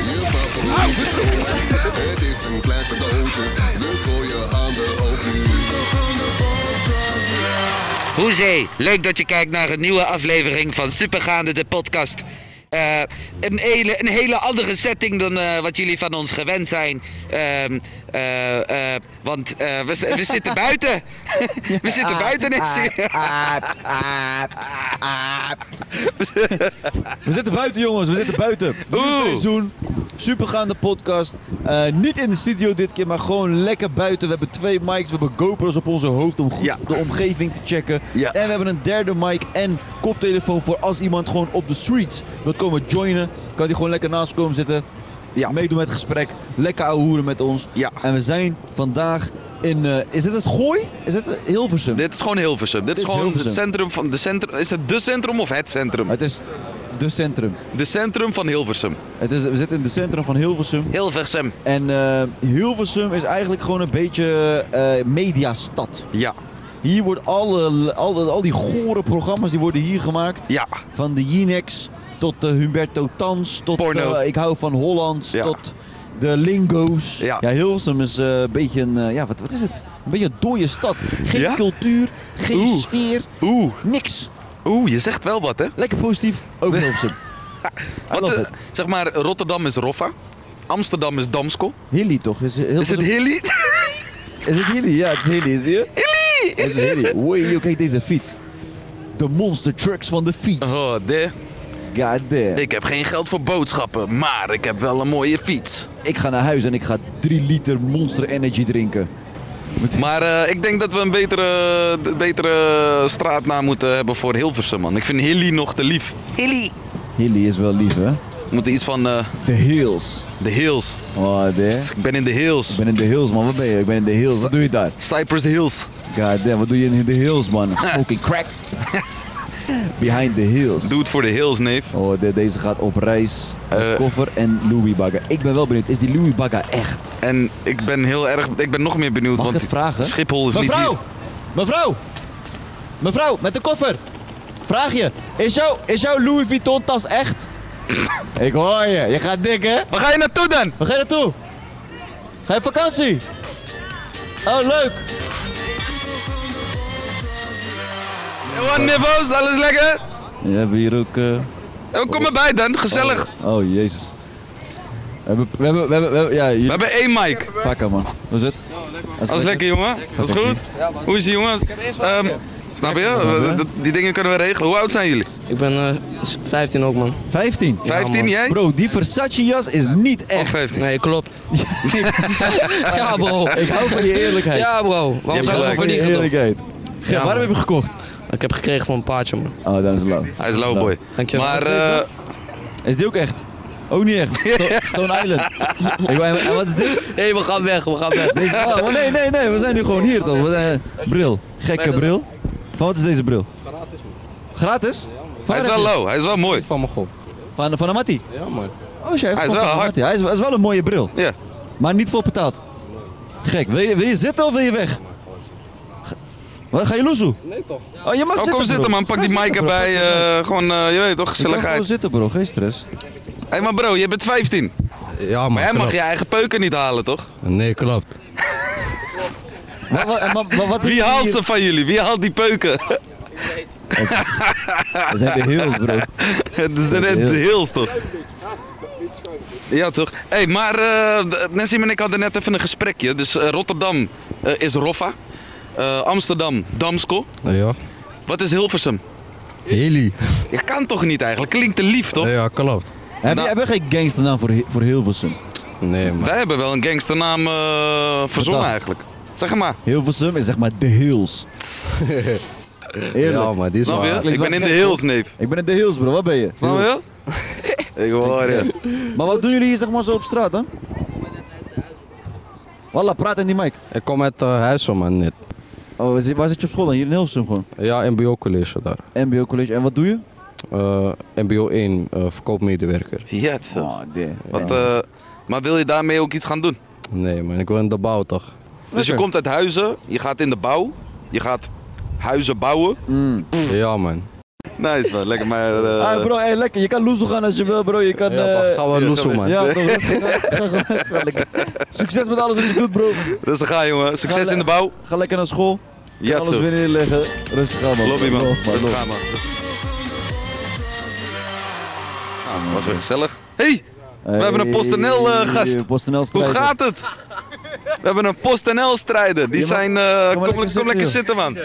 Je favoriete showtje. Het is een klein cadeautje. Dus gooi je handen hoog nu. We gaan de podcast. Hoezee, leuk dat je kijkt naar een nieuwe aflevering van Supergaande de podcast. Eh, een, hele, een hele andere setting dan eh, wat jullie van ons gewend zijn. Ehm, eh, eh, want eh, we, z- we zitten buiten. we zitten Ah, buiten. Nessie. We zitten buiten, jongens. We zitten buiten. Nieuw Oeh. seizoen. Supergaande podcast. Eh, niet in de studio dit keer, maar gewoon lekker buiten. We hebben twee mics. We hebben GoPro's op onze hoofd om goed Ja. de omgeving te checken. Ja. En we hebben een derde mic en koptelefoon voor als iemand gewoon op de streets wil komen joinen. Kan die gewoon lekker naast komen zitten. Ja. Meedoen met het gesprek. Lekker ouwehoeren met ons. Ja. En we zijn vandaag in... eh, is het het Gooi? Is het Hilversum? Dit is gewoon Hilversum. Dit is Dit is gewoon Hilversum. het centrum van de centrum. Is het de centrum of het centrum? Het is de centrum. De centrum van Hilversum. Het is, we zitten in de centrum van Hilversum. Hilversum. En eh, Hilversum is eigenlijk gewoon een beetje eh, mediastad. Ja, Hier wordt alle, al, al die gore programma's die worden hier gemaakt. ja. Van de Jinex tot de Humberto Tans tot Porno. eh, Ik hou van Hollands Ja. tot de Lingo's. Ja. Hilversum is eh, een beetje een, eh, ja, wat, wat is het? Een beetje een dode stad. Geen Ja? cultuur, geen Oeh. sfeer, Oeh, niks. oeh, je zegt wel wat hè? Lekker positief over Hilversum. I Wat, love eh, it. zeg maar, Rotterdam is Roffa. Amsterdam is Damsko. Hilly toch? Is, Is het Hilly? Is het Hilly? Ja, het is Hilly, zie je? Hilly! Het is Hilly. Wee, joh, kijk deze fiets. De monster trucks van de fiets. Oh, de. God damn. Ik, Ik heb geen geld voor boodschappen, maar ik heb wel een mooie fiets. ga naar huis en ik ga 3 liter monster energy drinken. Maar eh, ik denk dat we een betere, de- betere straatnaam moeten hebben voor Hilversum, man. Ik vind Hilly nog te lief. Hilly. Hilly is wel lief, hè? We moeten iets van eh, De hills. de Hills. Oh, Psst, damn. ik ben in de hills. Ik ben in de hills, man. Wat ben je? Ik ben in de hills. Wat doe je daar? Cypress Hills. God damn, wat doe je in de hills, man? Smoking crack. Behind the hills. Doe het voor de hills, neef. Oh, de- deze gaat op reis. Met Eh. koffer en Louis Bagga. Ik ben wel benieuwd, is die Louis Bagga echt? En ik ben heel erg, ik ben nog meer benieuwd, Mag ik want het vragen? Schiphol is mevrouw! niet Mevrouw! Mevrouw, met de koffer! Vraag je, is, jou, is jouw Louis Vuitton tas echt? Ik hoor je, je gaat dik hè? hier. Waar ga je naartoe dan? Waar ga je naartoe? Ga je op vakantie? Oh, leuk! Johan, niveaus, alles lekker? We hebben hier ook... eh, Oh, kom erbij dan, gezellig. Oh, jezus. We hebben... We hebben... We hebben, we hebben- ja, We hier... hebben één mic. Vakken man. Hoe is het? Dat is lekker, jongen. Dat is goed. Hoe is het, jongens? Ehm, snap je? Eh, dat- Die dingen kunnen we regelen. Hoe oud zijn jullie? Ik ben eh, s- 15 ook, man. 15. 15, man. jij? Bro, die Versace jas is niet Ook echt. 15. Nee, klopt. ja, bro. Ik hou van die eerlijkheid. Ja, bro. hebt Waarom zou ik gelijk. me Van die verliezen, toch? eerlijkheid. Ge- Ja, man. waarom heb je hem gekocht? Ik heb gekregen van een paardje, man. Oh, dat is lauw. Hij is lowboy. Dankjewel. Maar, Wat is eh, dat? Is die ook echt? Ook niet echt. Sto- Stone Island. Ik wou- en wat is dit? Hé, we gaan weg, we gaan weg. Deze, oh, maar nee, nee, nee. We zijn nu gewoon hier toch? We zijn, bril. Gekke bril. Van wat is deze bril? Gratis. Gratis? Van hij is waar wel heb je low, hij is wel mooi. Van mijn god. hem? Van, van Amati? Ja, man. Oh, shit, hij, Hij is is wel wel hard. Hij is, hij is wel een mooie bril. Ja. Maar niet voor betaald. Gek. Wil je, wil je zitten of wil je weg? Ga- Wat, ga je loezoe? Nee toch. Oh, je mag Oh, zitten, kom zitten, bro. man. Pak Ga die zitten, mic bro. oh, erbij. Ga zitten. eh, Gewoon, eh, je Je weet toch, kan gewoon gezelligheid. zitten, bro. Geen stress. Hé, maar bro, je bent 15. Ja, Maar man. jij mag klopt. je eigen peuken niet halen, toch? Nee, klopt. Wat, wat, en wat- wat- wat- Wie haalt ze van jullie? Wie haalt die peuken? Dat zijn de heels, bro. Het is net de Hills, toch? Ja, toch? Hé, hey, maar eh Nassim en ik hadden net even een gesprekje. Dus eh, Rotterdam eh, is Roffa. Eh, Amsterdam, Damsko. Ja. Wat is Hilversum? Heli. Je kan toch niet eigenlijk? Klinkt te lief, toch? Ja, klopt. Heb je, Nou- hebben we geen gangsternaam voor, Hi- voor Hilversum? Nee, maar. Wij hebben wel een gangsternaam eh verzonnen Bedacht. eigenlijk. Zeg maar. Hilversum is zeg maar de Hills. Eerlijk. Ja, maar die is Snap wel. je? Klinkt Ik ben wel in de gek, Hills, neef. Ik ben in de Hills, bro. Wat ben je? Snap Hills. je? Ik hoor je. Maar wat doen jullie hier zeg maar zo op straat, hè? Walla, praat in die mic. Ik kom uit eh, Huizen, man, net. Oh, waar zit- waar zit je op school dan? Hier in Hilversum gewoon. Ja, MBO-college daar. MBO college. En wat doe je? Eh, MBO 1, eh verkoopmedewerker. Ja, toch. Oh, Ah, damn. Wat, eh, maar wil je daarmee ook iets gaan doen? Nee, man, ik wil in de bouw toch? Dus je Lekker. komt uit huizen, je gaat in de bouw, je gaat huizen bouwen. Ja, man. Nice man, lekker maar. eh, Ah, bro, hey, lekker. Je kan loezo gaan als je wil, bro. Je kan... Ja, eh, toch, gaan we loesoe, man. Ja, bro, rustig aan. Ga gewoon- ga lekker. Succes met alles wat je doet, bro. Rustig aan jongen, succes Ga in de bouw. Ga lekker naar school. Ja eh, alles toch. weer neerleggen. Rustig aan, man. Lobby man, Love, rustig love. aan man. Ah, Nou, was weer gezellig. Hey, we hebben een Hey, PostNL eh, gast. PostNL Hoe strijder. gaat het? We hebben een PostNL strijder. Die Ja, maar- zijn, eh, kom, lekker kom zitten, lekker joh. zitten man.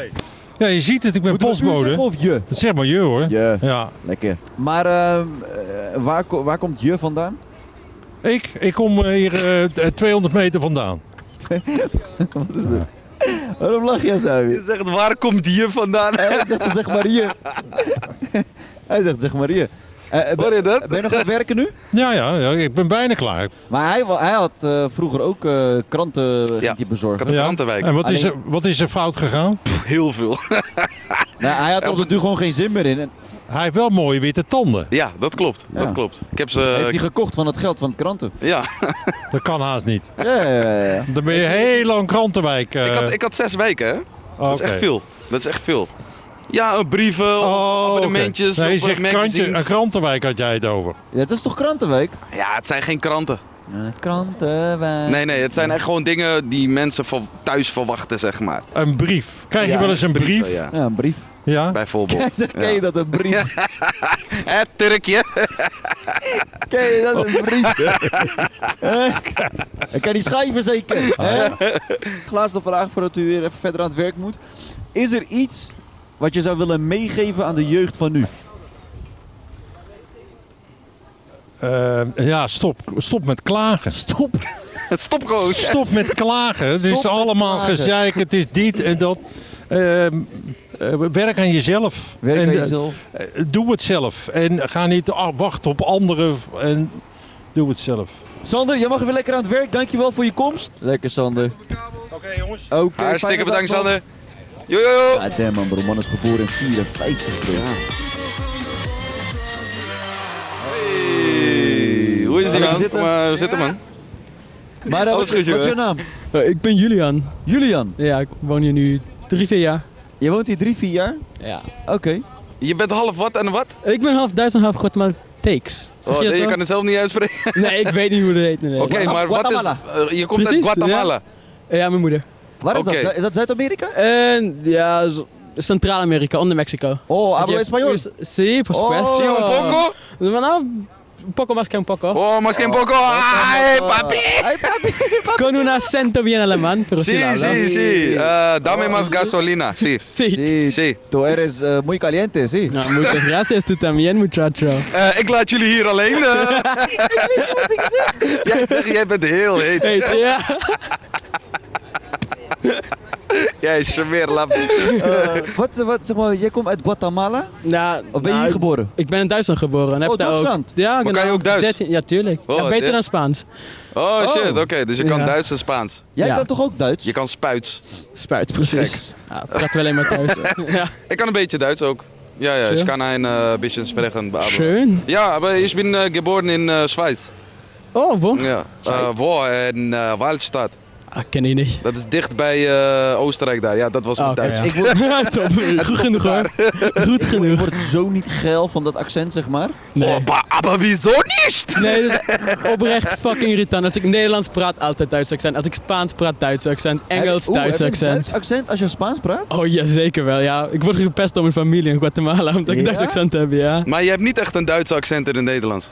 Ja, je ziet het, ik ben Moeten we u zeggen postbode. of je? Zeg maar je hoor. Je. Ja. Lekker. Maar ehm, eh, waar, ko- waar komt je vandaan? Ik, ik kom eh, hier eh, 200 meter vandaan. Waarom Oh, lach jij zo Je zegt, waar komt hier vandaan? Hij zegt zeg maar hier. hij zegt zeg maar hier. Eh, eh, ben, Hoor je dat? ben je nog aan het werken nu? Ja, ja, ja, ik ben bijna klaar. Maar hij, wa- hij had eh, vroeger ook eh, kranten ging Ja. hij bezorgen. Kan- De ja. Brandenwijk. En wat is, Alleen- er, wat is er fout gegaan? Heel veel. Nou, hij had er op de duur gewoon geen zin meer in. En Hij heeft wel mooie witte tanden. Ja, dat klopt. Ja. Dat klopt. Eh, Ik heb heeft hij ze. gekocht van het geld van de kranten. Ja. Dat kan haast niet. Ja, ja, ja, ja. Dan ben je heel lang krantenwijk. eh, Ik had, ik had zes weken, hè? Dat is oké. echt veel. Dat is echt veel. Ja, eh, brieven, of Oh, oké. abonnementjes, Nee, je of zegt magazines. krantje, een krantenwijk had jij het over. Ja, Het is toch krantenweek? Ja, het zijn geen kranten. Krantenweek. Nee, nee, het zijn echt gewoon dingen die mensen van thuis verwachten, zeg maar. Een brief. Krijg je Ja, wel eens een brief? brieven, Ja, Ja, een brief. ja. Hij bijvoorbeeld. zegt, ken je dat, een brief? Hé, Turkje? Ken je dat, een brief? Eh? Ik kan die schrijven zeker. hè? Laatste vraag voordat u weer even verder aan het werk moet. Is er iets wat je zou willen meegeven aan de jeugd van nu? Eh, ja, stop. Stop met klagen. Stop. Stop gewoon. Stop met klagen. Het Stop is met allemaal klagen. gezeik. Het is dit en dat. Ehm, eh, werk aan jezelf. Werk En, aan eh, jezelf. eh, Doe het zelf. En ga niet ah, wachten op anderen. En doe het zelf. Sander, jij mag weer lekker aan het werk. Dankjewel voor je komst. Lekker, Sander. Oké jongens. Oké. fijne Hartstikke dag bedankt, nog. Sander. Yo, yo, yo. Ah, damn man, bro. Man is geboren in 54, bro. Hey, Hoe is Lekker het, man? zitten. Kom maar zitten, man. Maar eh, wat, Alles goed, wat is jongen. je naam? ik ben Julian. Julian. Ja, ik woon hier nu drie, vier jaar. Je woont hier drie, vier jaar? Ja. Oké. Je bent half wat en wat? Ik ben half Duits en half Guatemalteeks. Zeg Oh, je dat nee, je zo? kan het zelf niet uitspreken. Nee, ik weet niet hoe dat heet. Nee, nee. Oké, maar wat is... eh, je komt uit Precies, Guatemala. Ja, mijn moeder. Waar is Oké. dat? Is dat Zuid-Amerika? En ja, z- Centraal-Amerika, onder Mexico. Ah, Oh, hablo español. Sí, por Oh. supuesto. Zie je een poco? Maar nou, un poco más que un poco. Oh, mas geen poco. Ai, papi. Hey, papi, papi. Con un acento bien alemán, pero sí, Sí, la hablo. sí, sí. Eh, dame más gasolina. Sí. Sí. Sí, Sí. Tú eres eh, muy caliente, sí. Nou, muchas gracias, tú también, muchacho. Eh, ik laat jullie hier alleen. eh. jij zegt, jij bent heel heet. Heet, ja. Jij is smeerlap. Eh, wat, wat, zeg maar, jij komt uit Guatemala? Nou, Of ben je nou, hier geboren? Ik ben in Duitsland geboren. En heb Oh, daar Duitsland? Ook, ja, kan genau. je ook Duits? 13 ja, tuurlijk. Oh, ja, wat, beter ja. dan Spaans. Oh shit, oké. dus je kan Ja. Duits en Spaans. Jij Ja. kan toch ook Duits? Je kan spuits. Spuit, Dus- precies. Ja, praten we alleen maar thuis. ja. Ik kan een beetje Duits ook. Ja, ja. Zo. Ik kan een eh, beetje spreken. aber- Schön. Ja, maar ik ben eh, geboren in eh, Schweiz. Oh, wo? Ja. Eh, Wo in eh, Waldstadt. Ah, ken ik niet. Dat is dicht bij eh, Oostenrijk daar. Ja, dat was mijn Ah, oké, Duits. ja. Top. Goed genoeg hoor. Goed Je genoeg. wordt zo niet geil van dat accent, zeg maar. Nee. Oh, ba- aber wieso niet? racist! Nee, dat is echt oprecht fucking irritant. Als ik Nederlands praat, altijd Duits accent. Als ik Spaans praat, Duits accent. Engels, Oeh, heb Duits je een accent. Duits accent als je Spaans praat? Oh ja, zeker wel. Ja. Ik word gepest door mijn familie in Guatemala omdat ik Ja? Duits accent heb, ja. Maar je hebt niet echt een Duitse accent in het Nederlands.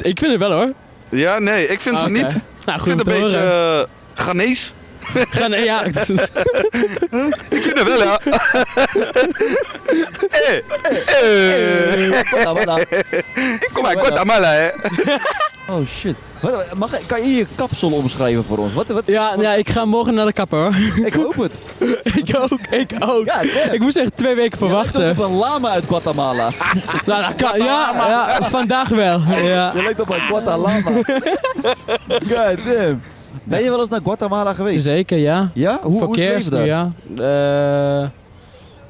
Ik vind het wel hoor. Ja, nee, ik vind Ah, het oké. niet. Nou, ik goed vind het om te een beetje horen. eh, Ghanese. Gaan, ja, het is- Ik vind het wel, ja. Eh, eh. Guatemala. Kom maar, Guatemala, hè. Oh shit. Wat- mag, kan je je kapsel omschrijven voor ons? Wat, wat, ja, ja, ik ga morgen naar de kapper hoor. Ik hoop het. ik ook, ik ook. ik moest echt twee weken verwachten. Je lijkt op een lama uit Guatemala. nou, dat kan, ja, ja, vandaag wel. Ja. Je lijkt op een Guatemala. God damn. Ben je wel eens naar Guatemala geweest? Zeker, ja. Ja? Hoe, hoe is het Verkeers, leven daar? ja. Eh,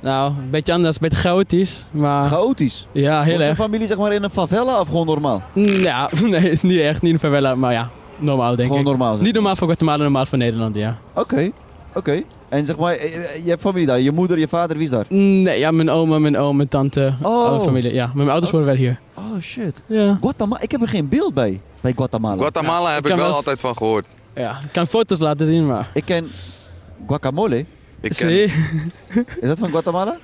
nou, een beetje anders, een beetje chaotisch. Maar... Chaotisch? Ja, heel Woont je erg. Mm, familie zeg maar in een favela of gewoon normaal? Ja, nee, niet echt, niet een favela, maar ja, normaal denk ik. Gewoon normaal, zeg. Niet normaal voor Guatemala, normaal voor Nederland, ja. Oké, oké. En zeg maar, eh, eh, je hebt familie daar. Je moeder, je vader, wie is daar? Nee, ja, mijn oma, mijn oom, mijn tante, alle familie. Ja, maar mijn ouders wonen wel hier. Oh shit. Oh. Ja. Guatemala, ik heb er geen beeld bij, bij Guatemala. Guatemala heb ik wel altijd van gehoord. Ja, ik kan foto's laten zien, maar... Ik ken guacamole. Ik ken- Zie. Is dat van Guatemala?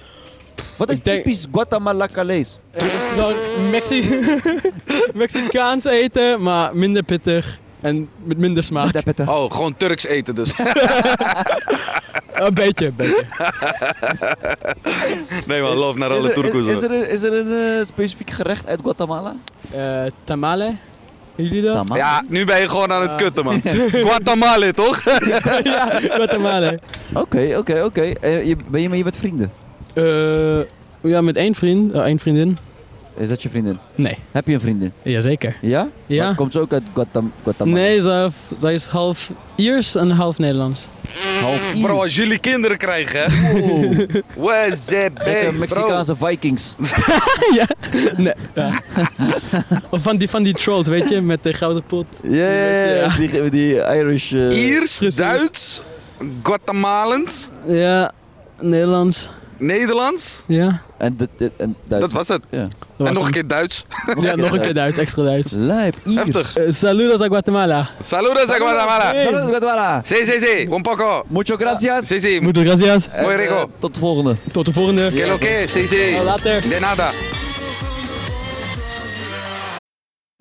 Wat is typisch guatemala calees Het is gewoon Mexi Mexicaans eten, maar minder pittig en met minder smaak. Oh, gewoon Turks eten dus. Een beetje, een beetje. nee man, love naar Is alle er, is, Turkos. is er een, is er een eh, specifiek gerecht uit Guatemala? Eh, tamale, jullie dat? Ja, nu ben je gewoon aan het Ah. kutten man. Guatemala toch? ja, Guatemala. Oké, oké, oké. Eh, je- Ben je maar je bent vrienden? Eh, ja, met één vriend, eh, één vriendin. Is dat je vriendin? Nee. Heb je een vriendin? Jazeker. Ja? Ja. Maar komt ze ook uit Guatam- Guatemala? Nee, zij, zij is half Iers en half Nederlands. Half Bro, als jullie kinderen krijgen hè. What's up, Lekker bro? Mexicaanse Vikings. ja. Nee. ja. Of van die, van die trolls, weet je, met de gouden pot. Ja, ja, ja, Ja. Die, die Irish... eh, Iers, Duits, Guatemalans, Ja, Nederlands. Nederlands. Ja. En, de, de- en Duits. Dat was het. Ja. was en nog hem. een keer Duits. Ja, nog een keer Duits, extra Duits. Lijp, Iers. Heftig. Eh, saludos a Guatemala. Saludos a Guatemala. Hey. Saludos, Guatemala. Sí, sí, sí. Un poco. Mucho gracias. Sí, sí. Muchas gracias. Muy Eh, rico. Tot de volgende. Tot de volgende. Que lo que, sí, sí. Later. De nada.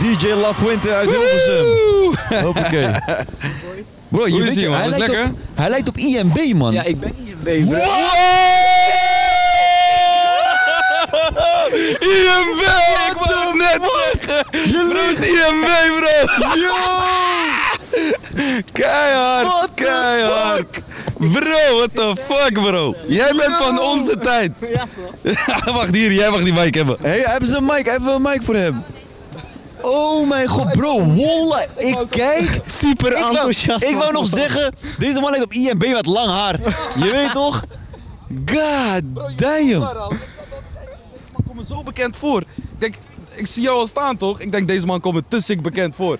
DJ Lafwinte uit Hilversum. Hoppakee. Bro, je Hoe weet is hij, je, man? hij Is lijkt lekker? Op, hij lijkt op IMB, man. Ja, ik ben iets bezig. IMW! Ik wou het net zeggen! Bro, is IMW, bro! Yo! Keihard, keihard! Bro, what the fuck, bro? Jij bent van onze tijd! Wacht hier, jij mag die mic hebben. Hey, hebben ze een mic? Hebben we een mic voor hem? Oh mijn god, bro, wallah, ik kijk. Super Ik wou, enthousiast. ik wou nog zeggen, deze man lijkt op IMB met lang haar. Je weet toch? God damn. Deze man komt me zo bekend voor. Ik denk, ik zie jou al staan toch? Ik denk, deze man komt me te sick bekend voor.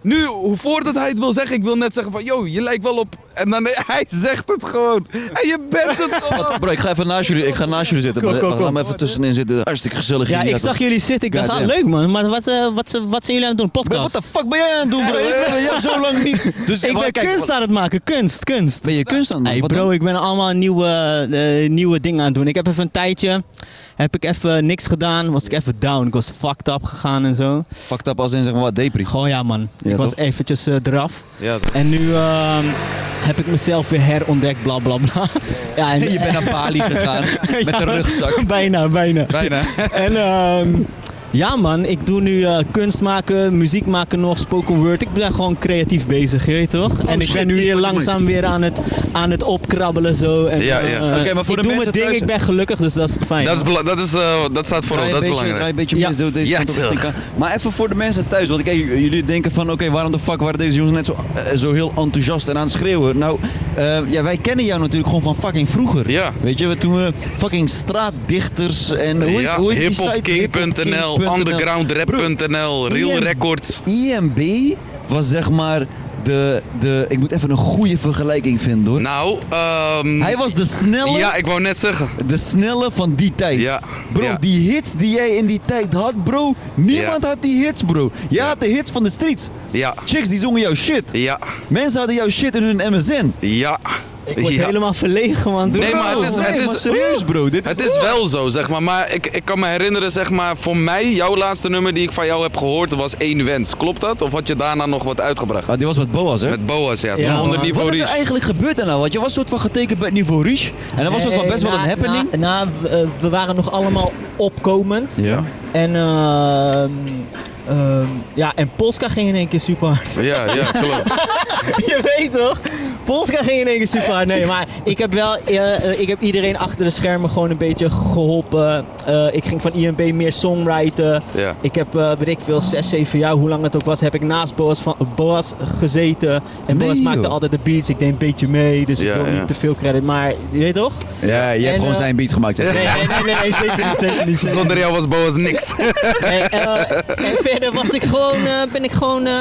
Nu, hoe voordat hij het wil zeggen, ik wil net zeggen van, yo, je lijkt wel op... En dan, hij zegt het gewoon. En je bent het gewoon. Bro, ik ga even naast jullie, ik ga naast jullie zitten. Kom, maar kom, Laat kom. me even tussenin zitten. Hartstikke gezellig. Ja, hier. ik zag jullie zitten. Ik dacht, Ja, ah, ja. leuk man. Maar wat, eh, wat, ze- wat zijn jullie aan het doen? Bro, Wat Podcast? de fuck ben jij aan het doen, bro? Ik ben jou zo lang niet. Dus ik ben maar kijk, kunst aan het maken. Kunst, kunst. Ben je kunst aan het Hey doen? Wat bro, dan? ik ben allemaal nieuwe, eh, nieuwe dingen aan het doen. Ik heb even een tijdje, heb ik even niks gedaan. Was ik even down. Ik was fucked up gegaan en zo. Fucked up als in zeg maar wat, depri. Gewoon ja man. Ja, ik was toch? eventjes eh, eraf. Ja, En nu ehm, heb ik mezelf weer herontdekt, bla bla bla. Ja, en, Je bent naar Bali gegaan met Ja, een rugzak. Bijna, bijna. bijna. En ehm, Ja man, ik doe nu eh, kunst maken, muziek maken nog, spoken word. Ik ben gewoon creatief bezig, je weet toch? en ik shit, ben nu ik weer moet- langzaam moet- weer aan het, aan het opkrabbelen zo. En, Ja, ja. eh, Oké, maar voor ik de doe mensen mijn ding, thuis- ik ben gelukkig, dus dat is fijn. Dat, is bela- dat, is, eh, dat staat voorop, Draai dat is een beetje- belangrijk. draai een beetje meer zo deze Ja, kant op toch. richting aan. Maar even voor de mensen thuis. Want kijk, jullie denken van oké, waarom de fuck waren deze jongens net zo, eh, zo heel enthousiast en aan het schreeuwen? Nou, eh, ja, wij kennen jou natuurlijk gewoon van fucking vroeger. Ja. Weet je, we- toen we fucking straatdichters en hoe heet, Ja, hoe heet die site? hiphopking.nl, hiphopking.nl. undergroundrap.nl, Real IM Records. IMB was zeg maar de, de... Ik moet even een goede vergelijking vinden hoor. Nou, ehm, Hij was de snelle... Ja, ik wou net zeggen. De snelle van die tijd. Bro, ja. die hits die jij in die tijd had, bro. Niemand had die hits, bro. Jij had de hits van de streets. Ja. Chicks die zongen jouw shit. Ja. Mensen hadden jouw shit in hun MSN. Ja. Ik word helemaal verlegen, man. Doe Nee, normaal, maar het is, man. het Nee, is maar serieus, bro. Dit het is wel zo, zeg maar. Maar ik, ik kan me herinneren, zeg maar, voor mij, jouw laatste nummer die ik van jou heb gehoord was één wens. Klopt dat? Of had je daarna nog wat uitgebracht? die Ah, was met Boas, hè? Met Boas, ja. Toen Ja, onder man. niveau Wat is er Reach. eigenlijk gebeurd daarna? Want je was soort van getekend bij het niveau Reach. En dat was soort van Nee, best wel na- een happening. na- na- we- eh, we waren nog allemaal opkomend. Ja. En, ehm, ehm, ja, en Polska ging in één keer super hard. Ja, ja, klopt. je weet toch? Polska ging in één keer super hard. Nee, maar ik heb wel, eh, eh, ik heb iedereen achter de schermen gewoon een beetje geholpen. Eh, ik ging van IMB meer songwriten. Ja. Ik heb, eh, weet ik veel, zes, zeven jaar, hoe lang het ook was, heb ik naast Boas, van, Boas gezeten. En Nee, Boas maakte joh. altijd de beats. Ik deed een beetje mee, dus Ja, ik wil ja. niet te veel credit. Maar je weet toch? Ja, je hebt En, gewoon eh, zijn beats gemaakt. Zeg. Nee, nee, nee, nee, zeker niet, zeker niet. zeker Zonder Dus jou was Boas niks. Nee, eh, en verder was ik gewoon, eh, ben ik gewoon eh,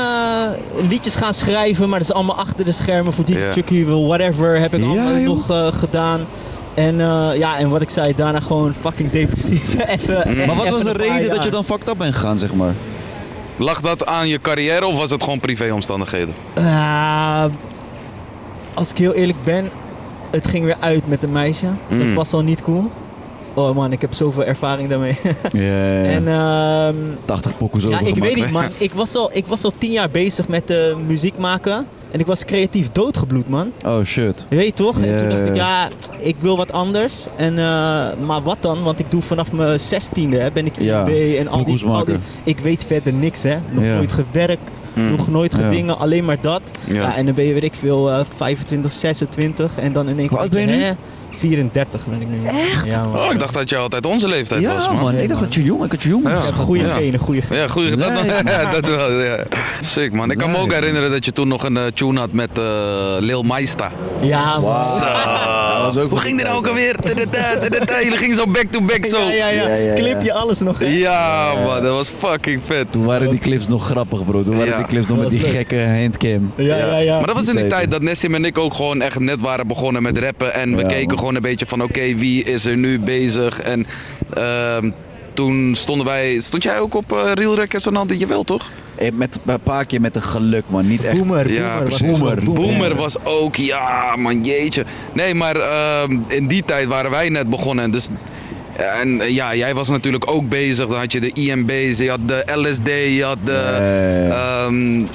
liedjes gaan schrijven, maar dat is allemaal achter de schermen voor DJ Ja. Chucky, whatever, heb ik allemaal nog eh, gedaan. En eh, ja, en wat ik zei, daarna gewoon fucking depressief. even, Mm. Maar wat even was de een paar reden dat je jaar. dan fucked up bent gegaan, zeg maar? Lag dat aan je carrière of was het gewoon privéomstandigheden? Eh, als ik heel eerlijk ben, het ging weer uit met een meisje. Dat Mm. was al niet cool. Oh man, ik heb zoveel ervaring daarmee. En, En, ehm, 80 pokkels ja, ik overgemaakt, weet hè? niet, man. Ik was, al, ik was al tien jaar bezig met eh, muziek maken. En ik was creatief doodgebloed, man. Oh shit. Je weet toch? En toen dacht ik, Ja. ja, ik wil wat anders. En, eh, maar wat dan? Want ik doe vanaf mijn zestiende, hè, ben ik IB Ja, en al pokoes die, al die... maken. Ik weet verder niks, hè. Nog Ja. nooit gewerkt, Hmm. Mm. nog nooit Ja. gedingen, alleen maar dat. Ja. Ja. en dan ben je, weet ik veel, eh, 25, 26. En dan in één keer... Hoe oud denk ben je nu? hè, 34 ben ik nu. Echt? Ja, man. Oh, ik dacht dat je altijd onze leeftijd Ja, was, man. man, ik dacht dat je jong, ik had je jong. Ja. was. Goeie Ja. genen, goeie genen. Ja, goeie dat, Lijp, man. dat wel. Ja. Sick man. Ik kan me ook herinneren dat je toen nog een eh, tune had met eh Lil Maista. Ja, man. Ah. Hoe ging dit nou ook alweer? Da-da-da, da-da-da. Jullie gingen zo back to back zo. Ja, ja, ja. Clip je alles nog, hè? Ja, man, dat was fucking vet. Toen waren die clips nog grappig, bro. Toen waren Ja. die clips nog met Dat die was leuk. gekke handcam. Ja, ja, ja. Maar dat was in die tijd dat Nessim en ik ook gewoon echt net waren begonnen met rappen. En we Ja, keken man. gewoon een beetje van oké, wie is er nu bezig? En ehm, toen stonden wij, stond jij ook op eh, Real Records en altijd? Jawel toch? Eh, Met een paar keer met een geluk, man. Niet echt. Boomer, Ja, boomer. precies. Boomer. Boomer was ook, ja man, jeetje. Nee, maar ehm, in die tijd waren wij net begonnen. Dus, en eh, ja, jij was natuurlijk ook bezig. Dan had je de IMB's, je had de LSD, je had de... ehm,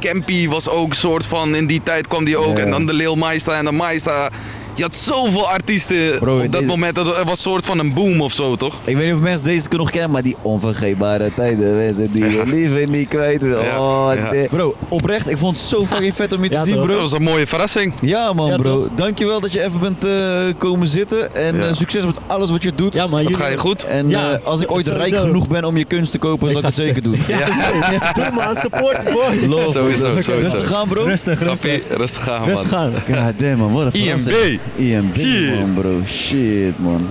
Campy was ook soort van, in die tijd kwam die ook. En dan de Lil Maista en de Maista. Je had zoveel artiesten Bro, op dat deze- moment. Dat het was een soort van een boom of zo, toch? Ik weet niet of mensen deze nog kennen, maar die onvergeetbare tijden. Mensen die je liever niet kwijt. willen. Ja, Oh, ja. de- Bro, oprecht, ik vond het zo fucking vet om je te Ja, zien, toch? bro. Dat was een mooie verrassing. Ja man bro, dankjewel dat je even bent eh, komen zitten en Ja. eh, succes met alles wat je doet. Ja, maar Dat jullie- ga je goed. En Ja, eh, als ik ooit sowieso. rijk genoeg ben om je kunst te kopen, zal ik het zeker doen. Ja, zo. Doe maar, support the boy. Lol, Sowieso, bro. sowieso. Rustig gaan bro. Rustig, Grappie, rustig. rustig aan, man. Rustig aan. God damn man, wat een IMB. verrassing. IMB Shit. man bro, shit man.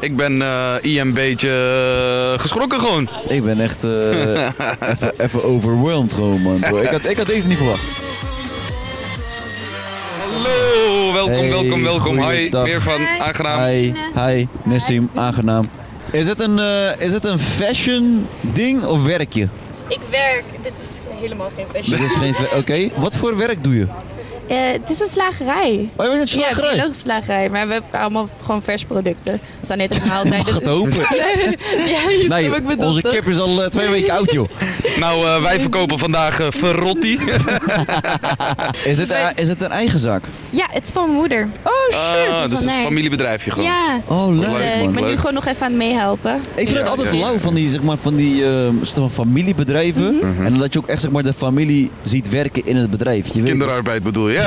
Ik ben eh IMB'tje eh, geschrokken gewoon. Ik ben echt eh, even- even overwhelmed gewoon man bro. Ik had, ik had deze niet verwacht. Hallo, welkom, Hey, welkom, welkom. Hi, goeiedag. weer van Aangenaam. Hi, hi Nessim, aangenaam. Is het een, eh, is het een fashion ding of werk je? Ik werk, dit is helemaal geen fashion. Dit is geen. Oké, wat voor werk doe je? Eh, het is een slagerij. Oh, je bent een slagerij? Ja, biologische slagerij. Maar we hebben allemaal gewoon vers producten. We staan net helemaal altijd... Mag het hopen? ja, je snapt wat ik bedoel, onze toch? kip is al eh, twee weken oud, joh. Nou, eh, wij verkopen vandaag eh, Oh, Ferrotti. Is Dus dit, eh, is dit een eigen zak? Ja, het is van mijn moeder. Oh Ah, dat is dus het is wel een leuk. familiebedrijfje gewoon. Ja. Oh, Dus, leuk, eh, man. ik ben nu Leuk. gewoon nog even aan het meehelpen. Ik vind het altijd lauw van die, zeg maar, van die ehm, soort van familiebedrijven. Mhm. En dat je ook echt zeg maar, de familie ziet werken in het bedrijf. Je weet het. Kinderarbeid bedoel je, hè?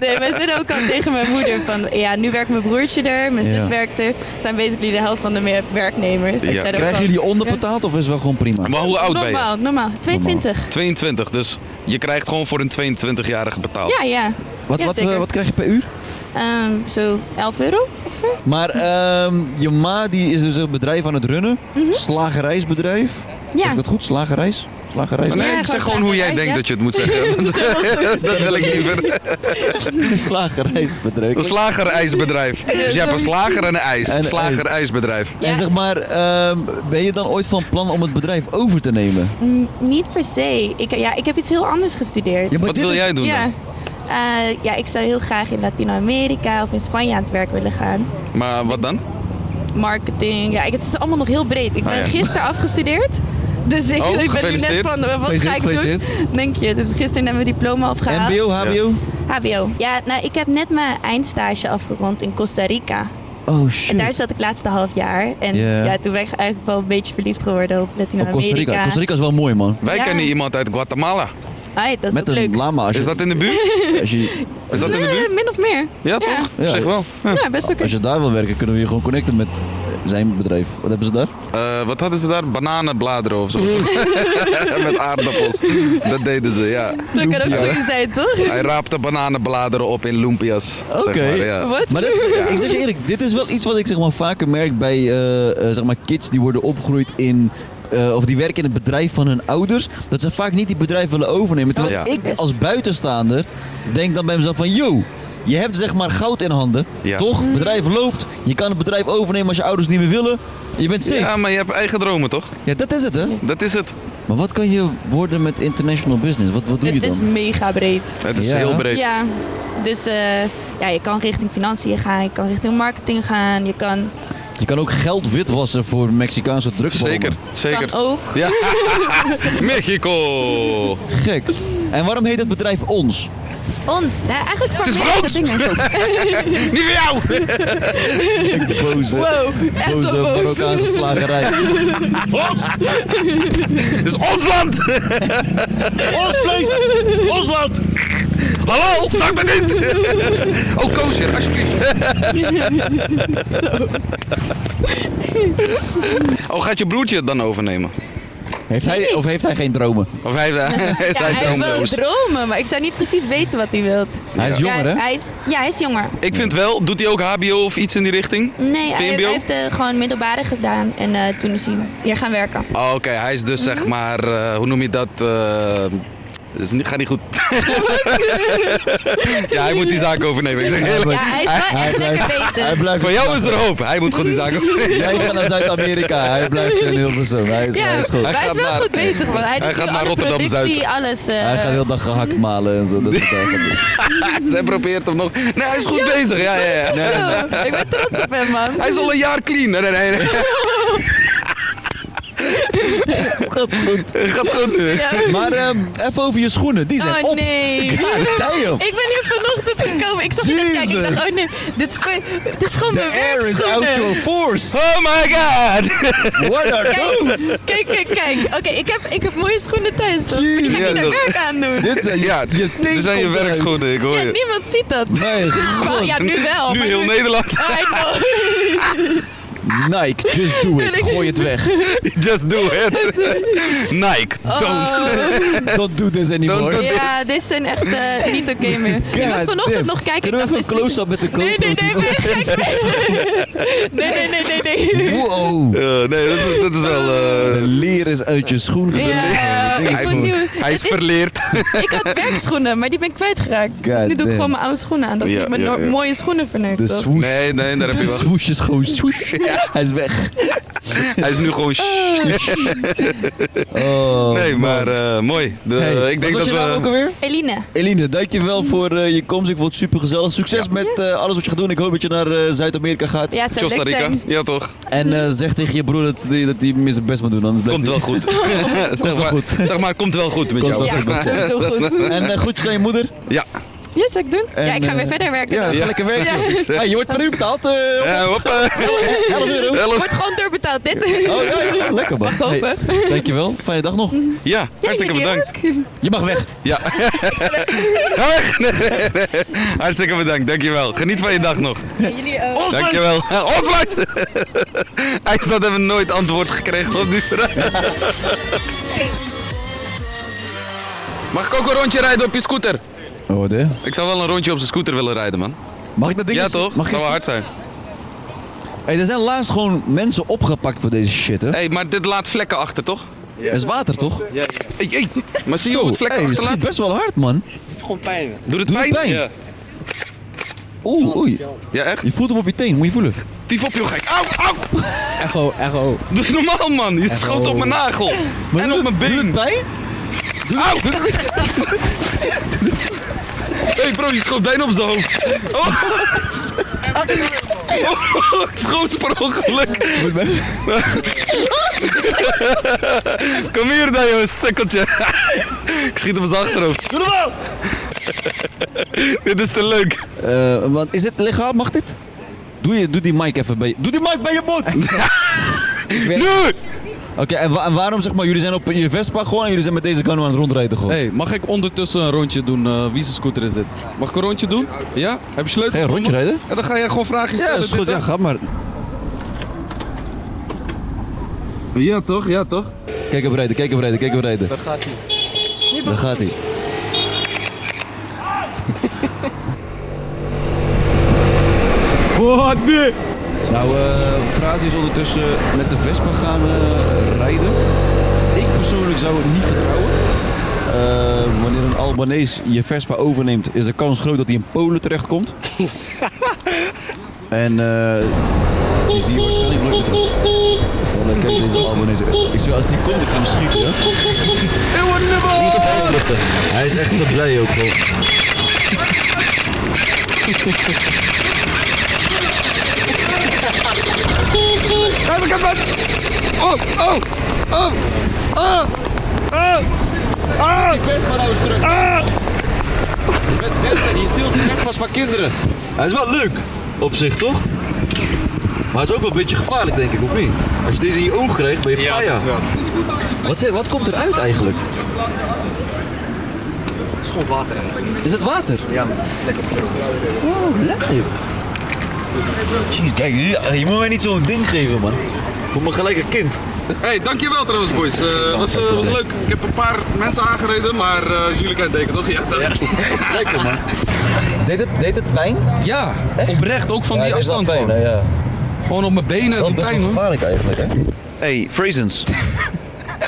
Nee, wij zeiden ook al tegen mijn moeder van... Ja, nu werkt mijn broertje er, mijn Ja. zus werkt er. Het zijn basically de helft van de me- werknemers. Ik zei ook Krijgen al, jullie onderbetaald of is het wel gewoon prima? Maar hoe oud ben je? Normaal, normaal. 22. 22, dus je krijgt gewoon voor een 22-jarige betaald. Ja, ja. Ja, zeker. eh, krijg je per uur? Ehm, zo 11 euro ongeveer. Maar ehm, je ma die is dus een bedrijf aan het runnen. Slagerijsbedrijf. Mhm. Ja. Zeg ik dat goed? Slagerijs? Slagerijs? Nee, ik zeg gewoon hoe jij denkt dat je het moet zeggen. Dat is wel goed. dat wil ik liever. Slagerijsbedrijf. Een slagerijsbedrijf. Dus je hebt een slager en een ijs. En een Slagerijsbedrijf. En zeg maar, ehm, ben je dan ooit van plan om het bedrijf over te nemen? Mm, Niet per se. Ik, ja, ik heb iets heel anders gestudeerd. Ja, maar Wat dit wil is- jij doen Ja. dan? Eh, ja, ik zou heel graag in Latino-Amerika of in Spanje aan het werk willen gaan. Maar wat dan? Marketing. Ja, ik- het is allemaal nog heel breed. Ik ben Ah, ja. gisteren afgestudeerd. Dus ik, Oh, ik ben nu net gefeliciteerd. van, eh, wat ga ik doen? Gefeliciteerd, Denk je. Dus gisteren hebben we diploma afgehaald. MBO, HBO? HBO. Ja, nou, ik heb net mijn eindstage afgerond in Costa Rica. Oh shit. En daar zat ik laatste half jaar. En Ja. ja, toen ben ik eigenlijk wel een beetje verliefd geworden op Latino-Amerika. Costa Rica. Costa Rica is wel mooi, man. Wij Ja. kennen iemand uit Guatemala. Ai, dat is ook leuk. lama. Is dat in de buurt? Is dat in de Eh, buurt? Min of meer. Ja, toch? Ja. Zeg wel. Ja, best oké. Als je daar wil werken, kunnen we je gewoon connecten met eh, zijn bedrijf. Wat hebben ze daar? Eh, wat hadden ze daar? Bananenbladeren of zo. Met aardappels. Dat deden ze, ja. Dat kan ook Ja. goed zijn, toch? Hij raapte bananenbladeren op in lumpias. Oké. Zeg maar, ja. Wat? Maar dit, ik zeg je eerlijk, dit is wel iets wat ik zeg maar, vaker merk bij eh, eh, zeg maar kids die worden opgegroeid in. eh, of die werken in het bedrijf van hun ouders. Dat ze vaak niet die bedrijf willen overnemen. Terwijl Ja. ik als buitenstaander denk dan bij mezelf van... Yo, je hebt zeg maar goud in handen. Ja. Toch? Mhm. Het bedrijf loopt. Je kan het bedrijf overnemen als je ouders niet meer willen. Je bent safe. Ja, maar je hebt eigen dromen, toch? Ja, dat is het hè? Dat is het. Maar wat kan je worden met international business? Wat, wat doe Het je is dan? mega breed. Het is Ja. heel breed. Ja, dus eh, ja, je kan richting financiën gaan, je kan richting marketing gaan, je kan, Je kan ook geld witwassen voor Mexicaanse drugsbomen. Zeker, zeker. kan ook. Ja. Mexico! Gek. En waarom heet het bedrijf ons? Ons, nou, eigenlijk voor Het is meerdere voor ons. dingen. Niet voor jou! Boze, Wow, echt boze zo boos. Marokkaanse slagerij. Ons! Het is ons land! ons vlees! Ons land! Hallo, dacht dat niet! oh, kozer, alsjeblieft. oh, gaat je broertje het dan overnemen? Heeft hij, of heeft hij geen dromen? Of hij, heeft Ja, hij hij wil droomloos? dromen, maar ik zou niet precies weten wat hij wilt. Hij is Ja, jonger, hè? hij is- ja, hij is jonger. Ik vind wel, doet hij ook HBO of iets in die richting? Nee, hij, VMBO? hij heeft eh, gewoon middelbare gedaan en eh, toen is hij hier gaan werken. Oh, Oké, hij is dus Mhm. zeg maar, eh, hoe noem je dat? eh dus niet, gaat niet goed. ja, hij moet die zaak overnemen. Ik zeg eerlijk. Ja, hij is wel echt lekker bezig. Hij blijft Voor jou is er hoop. Hij moet goed die zaak overnemen. Jij gaat naar Zuid-Amerika, hij blijft in Hilversum. Hij is, Ja, hij is goed. hij is wel goed bezig, want hij, doet gaat nu naar alle Rotterdam productie, Zuid. alles. eh, Hij gaat heel dag gehakt malen en zo. Dat is wat hij gaat doen. Zij probeert hem nog. Nee, hij is goed bezig. Ja, ja, ja. Zo, ik ben trots op hem, man. Hij is al een jaar clean. Nee, nee, nee. nee. Gaat goed. Gaat goed nu. Ja. Maar ehm, even over je schoenen, die zijn oh op. nee. damn. Ik ben hier vanochtend gekomen. Ik zag je net kijken. Ik dacht, oh nee, dit is, gewoon- dit is gewoon The mijn air is werkschoenen. out your force. Oh my god. What are Kijk, those? kijk, kijk, kijk. Oké, ik, heb, ik heb mooie schoenen thuis. toch? Ik ga Ja, niet naar dat- werk aan doen. Dit zijn je- Ja, je dit zijn je komt eruit. werkschoenen. Ik hoor Ja, je. niemand ziet dat. Nee, Dus, maar- God. ja, nu wel. Nu maar heel Nederland. I know. Nike, just do it. Gooi het weg. Just do it. Nike, Oh. don't. Don't do this anymore. Ja, dit zijn echt eh, niet oké meer. Ik was God vanochtend damn. nog kijken. Kunnen we even ik dacht, een is dit- close-up met de Nee, nee, nee, GoPro nee, doen? gek. nee, nee, nee, nee, nee. Wow. Eh, nee, dat is, dat is wel... eh, De leer is uit je schoen gedrukt. Ja, ik hij, vond nieuw. hij is Het is- verleerd. Ik had werkschoenen, maar die ben ik kwijtgeraakt. dus nu doe damn. ik gewoon mijn oude schoenen aan. Dat Ja, ik mijn ja, no- ja. mooie schoenen verneukt. De toch? swoosh. Nee, nee, daar heb je De wel. swoosh is gewoon swoosh. Hij is weg. Hij is nu gewoon. Oh, nee, maar eh, mooi. De- Hey, ik wat denk was dat je naam we. ook alweer? Eline. Eline, dank je wel voor eh, je komst. Ik vond het super gezellig. Succes met eh, alles wat je gaat doen. Ik hoop dat je naar eh, Zuid-Amerika gaat. Ja, het zou Costa leuk Rica. zijn. Ja, toch? En eh, zeg tegen je broer dat hij dat die mis zijn best moet doen. Anders blijft Komt wel goed. zeg, maar, zeg maar, komt wel goed met Komt jou. wel goed. Ja, sowieso goed. En, eh, groetjes aan je moeder. Ja. Ja, zou ik doen? En, ja, ik ga eh, weer verder werken. dus. ja, dan. ga lekker werken. Ja. Hey, je wordt per uur betaald. eh, Ja, hoppa. 11 euro. Wordt gewoon doorbetaald, dit. Oh ja, ja, lekker man. Mag hopen. Hey, dankjewel. Fijne dag nog. Ja, hartstikke jullie bedankt. Je mag weg. Ja. Ga weg. Nee, nee, nee. Hartstikke bedankt, dankjewel. Geniet van je dag nog. Jullie ook. Dankjewel. Eh, Oswald! IJsland hebben nooit antwoord gekregen op die vraag. Mag ik ook een rondje rijden op je scooter? Oh, de. Ik zou wel een rondje op zijn scooter willen rijden, man. Mag ik dat ding Ja, eens- toch? Mag ik zou wel eens- hard zijn. Hey, er zijn laatst gewoon mensen opgepakt voor deze shit, hè? Hé, hey, maar dit laat vlekken achter, toch? Er is water, toch? Ja. Maar zie je Zo, hoe het vlekken hey, dat schiet achterlaat? best wel hard, man. Het gewoon pijn. Doet het pijn? Ja. Oeh, oei. Ja, echt? Je voelt hem op je teen, moet je voelen. Tief op, joh, gek. Au, au! Echo, echo. Doe eens normaal, man. Je Echo. schoot oh. op mijn nagel. Maar en op mijn been. Doe het pijn? Au! Hé hey bro, je schoot bijna op zijn hoofd. Oh. Oh, ik schoot per ongeluk. Kom hier dan, jongen, sukkeltje. Ik schiet op zijn achterhoofd. Doe normaal! Dit is te leuk. want Eh, is het legaal? Mag dit? Doe, je, doe die mic even bij je... Doe die mic bij je mond! nu! Oké, en, wa- en waarom zeg maar, jullie zijn op je Vespa gewoon en jullie zijn met deze gun aan het rondrijden gewoon? Hey, mag ik ondertussen een rondje doen? Eh wie zijn scooter is dit? Mag ik een rondje doen? Ja? Heb je sleutels? Ga je een rondje gevonden? rijden? En dan ga jij gewoon vragen stellen. Ja, is dit, goed. dat. Ja, ga maar. Ja, toch? Ja, toch? Kijk hem rijden, kijk hem rijden, kijk hem rijden. Daar gaat hij. Daar gaat hij. Wat nu? Nou, eh Frazi is ondertussen met de Vespa gaan eh, rijden. Ik persoonlijk zou het niet vertrouwen. Eh, wanneer een Albanees je Vespa overneemt, is de kans groot dat hij in Polen terechtkomt. en eh, die zie je waarschijnlijk nooit meer terug. Oh, dan kijk deze Albanese. Ik zou als die komt, ik ga hem schieten. hè. Niet op hoofd richten. Hij is echt te blij ook gewoon. Kijk, kijk, kijk. Oh, oh, oh, oh, oh. Ah. Ah! die Vespa nou eens terug. Met Denten, die steelt de Vespa's van kinderen. Hij is wel leuk, op zich toch? Maar hij is ook wel een beetje gevaarlijk, denk ik, of niet? Als je deze in je oog krijgt, ben je ja, Wat, zit- wat komt eruit eigenlijk? Het is gewoon water eigenlijk. Is het water? Ja, plastic. Wow, blijf. Jeez, kijk, je, je moet mij niet zo'n ding geven, man. Ik voel me gelijk een kind. Hey, dankjewel trouwens, boys. Het was, eh, was leuk. Ik heb een paar mensen aangereden, maar eh, jullie kennen deken toch? Ja, toch? Lekker, man. Deed het, deed het pijn? Ja, oprecht. Ook van die afstand. Pijn, gewoon. hè, ja. Gewoon op mijn benen, Dat die is best pijn, wel hoor. gevaarlijk eigenlijk, hè? Hey, Frazens.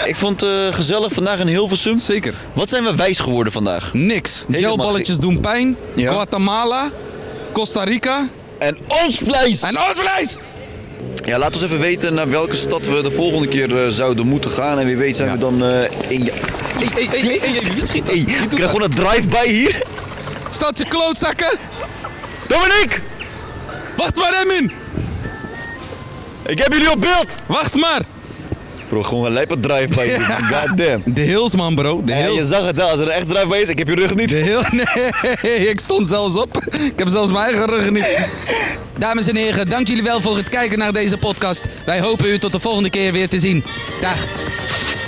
ik vond het eh, gezellig vandaag in Hilversum. Zeker. Wat zijn we wijs geworden vandaag? Niks. Gelballetjes doen pijn. Guatemala, Costa Rica. En ons vlees! En ons vlees! Ja, laat ons even weten naar welke stad we de volgende keer eh, zouden moeten gaan. En wie weet zijn we dan eh, in... Hé, hé, hé, hé, hé, wie schiet dat? Hey, ik krijg gewoon een drive-by hier. Staat je klootzakken? Dominique! Wacht maar, Emin! Ik heb jullie op beeld! Wacht maar! Bro, gewoon een lijpe drive-by. doen. Goddamn. De Hills, man, bro. De Ja, Hills. je zag het, hè, als er echt drive-by is, ik heb je rug niet. De heel, nee, ik stond zelfs op. Ik heb zelfs mijn eigen rug niet. Dames en heren, dank jullie wel voor het kijken naar deze podcast. Wij hopen u tot de volgende keer weer te zien. Dag.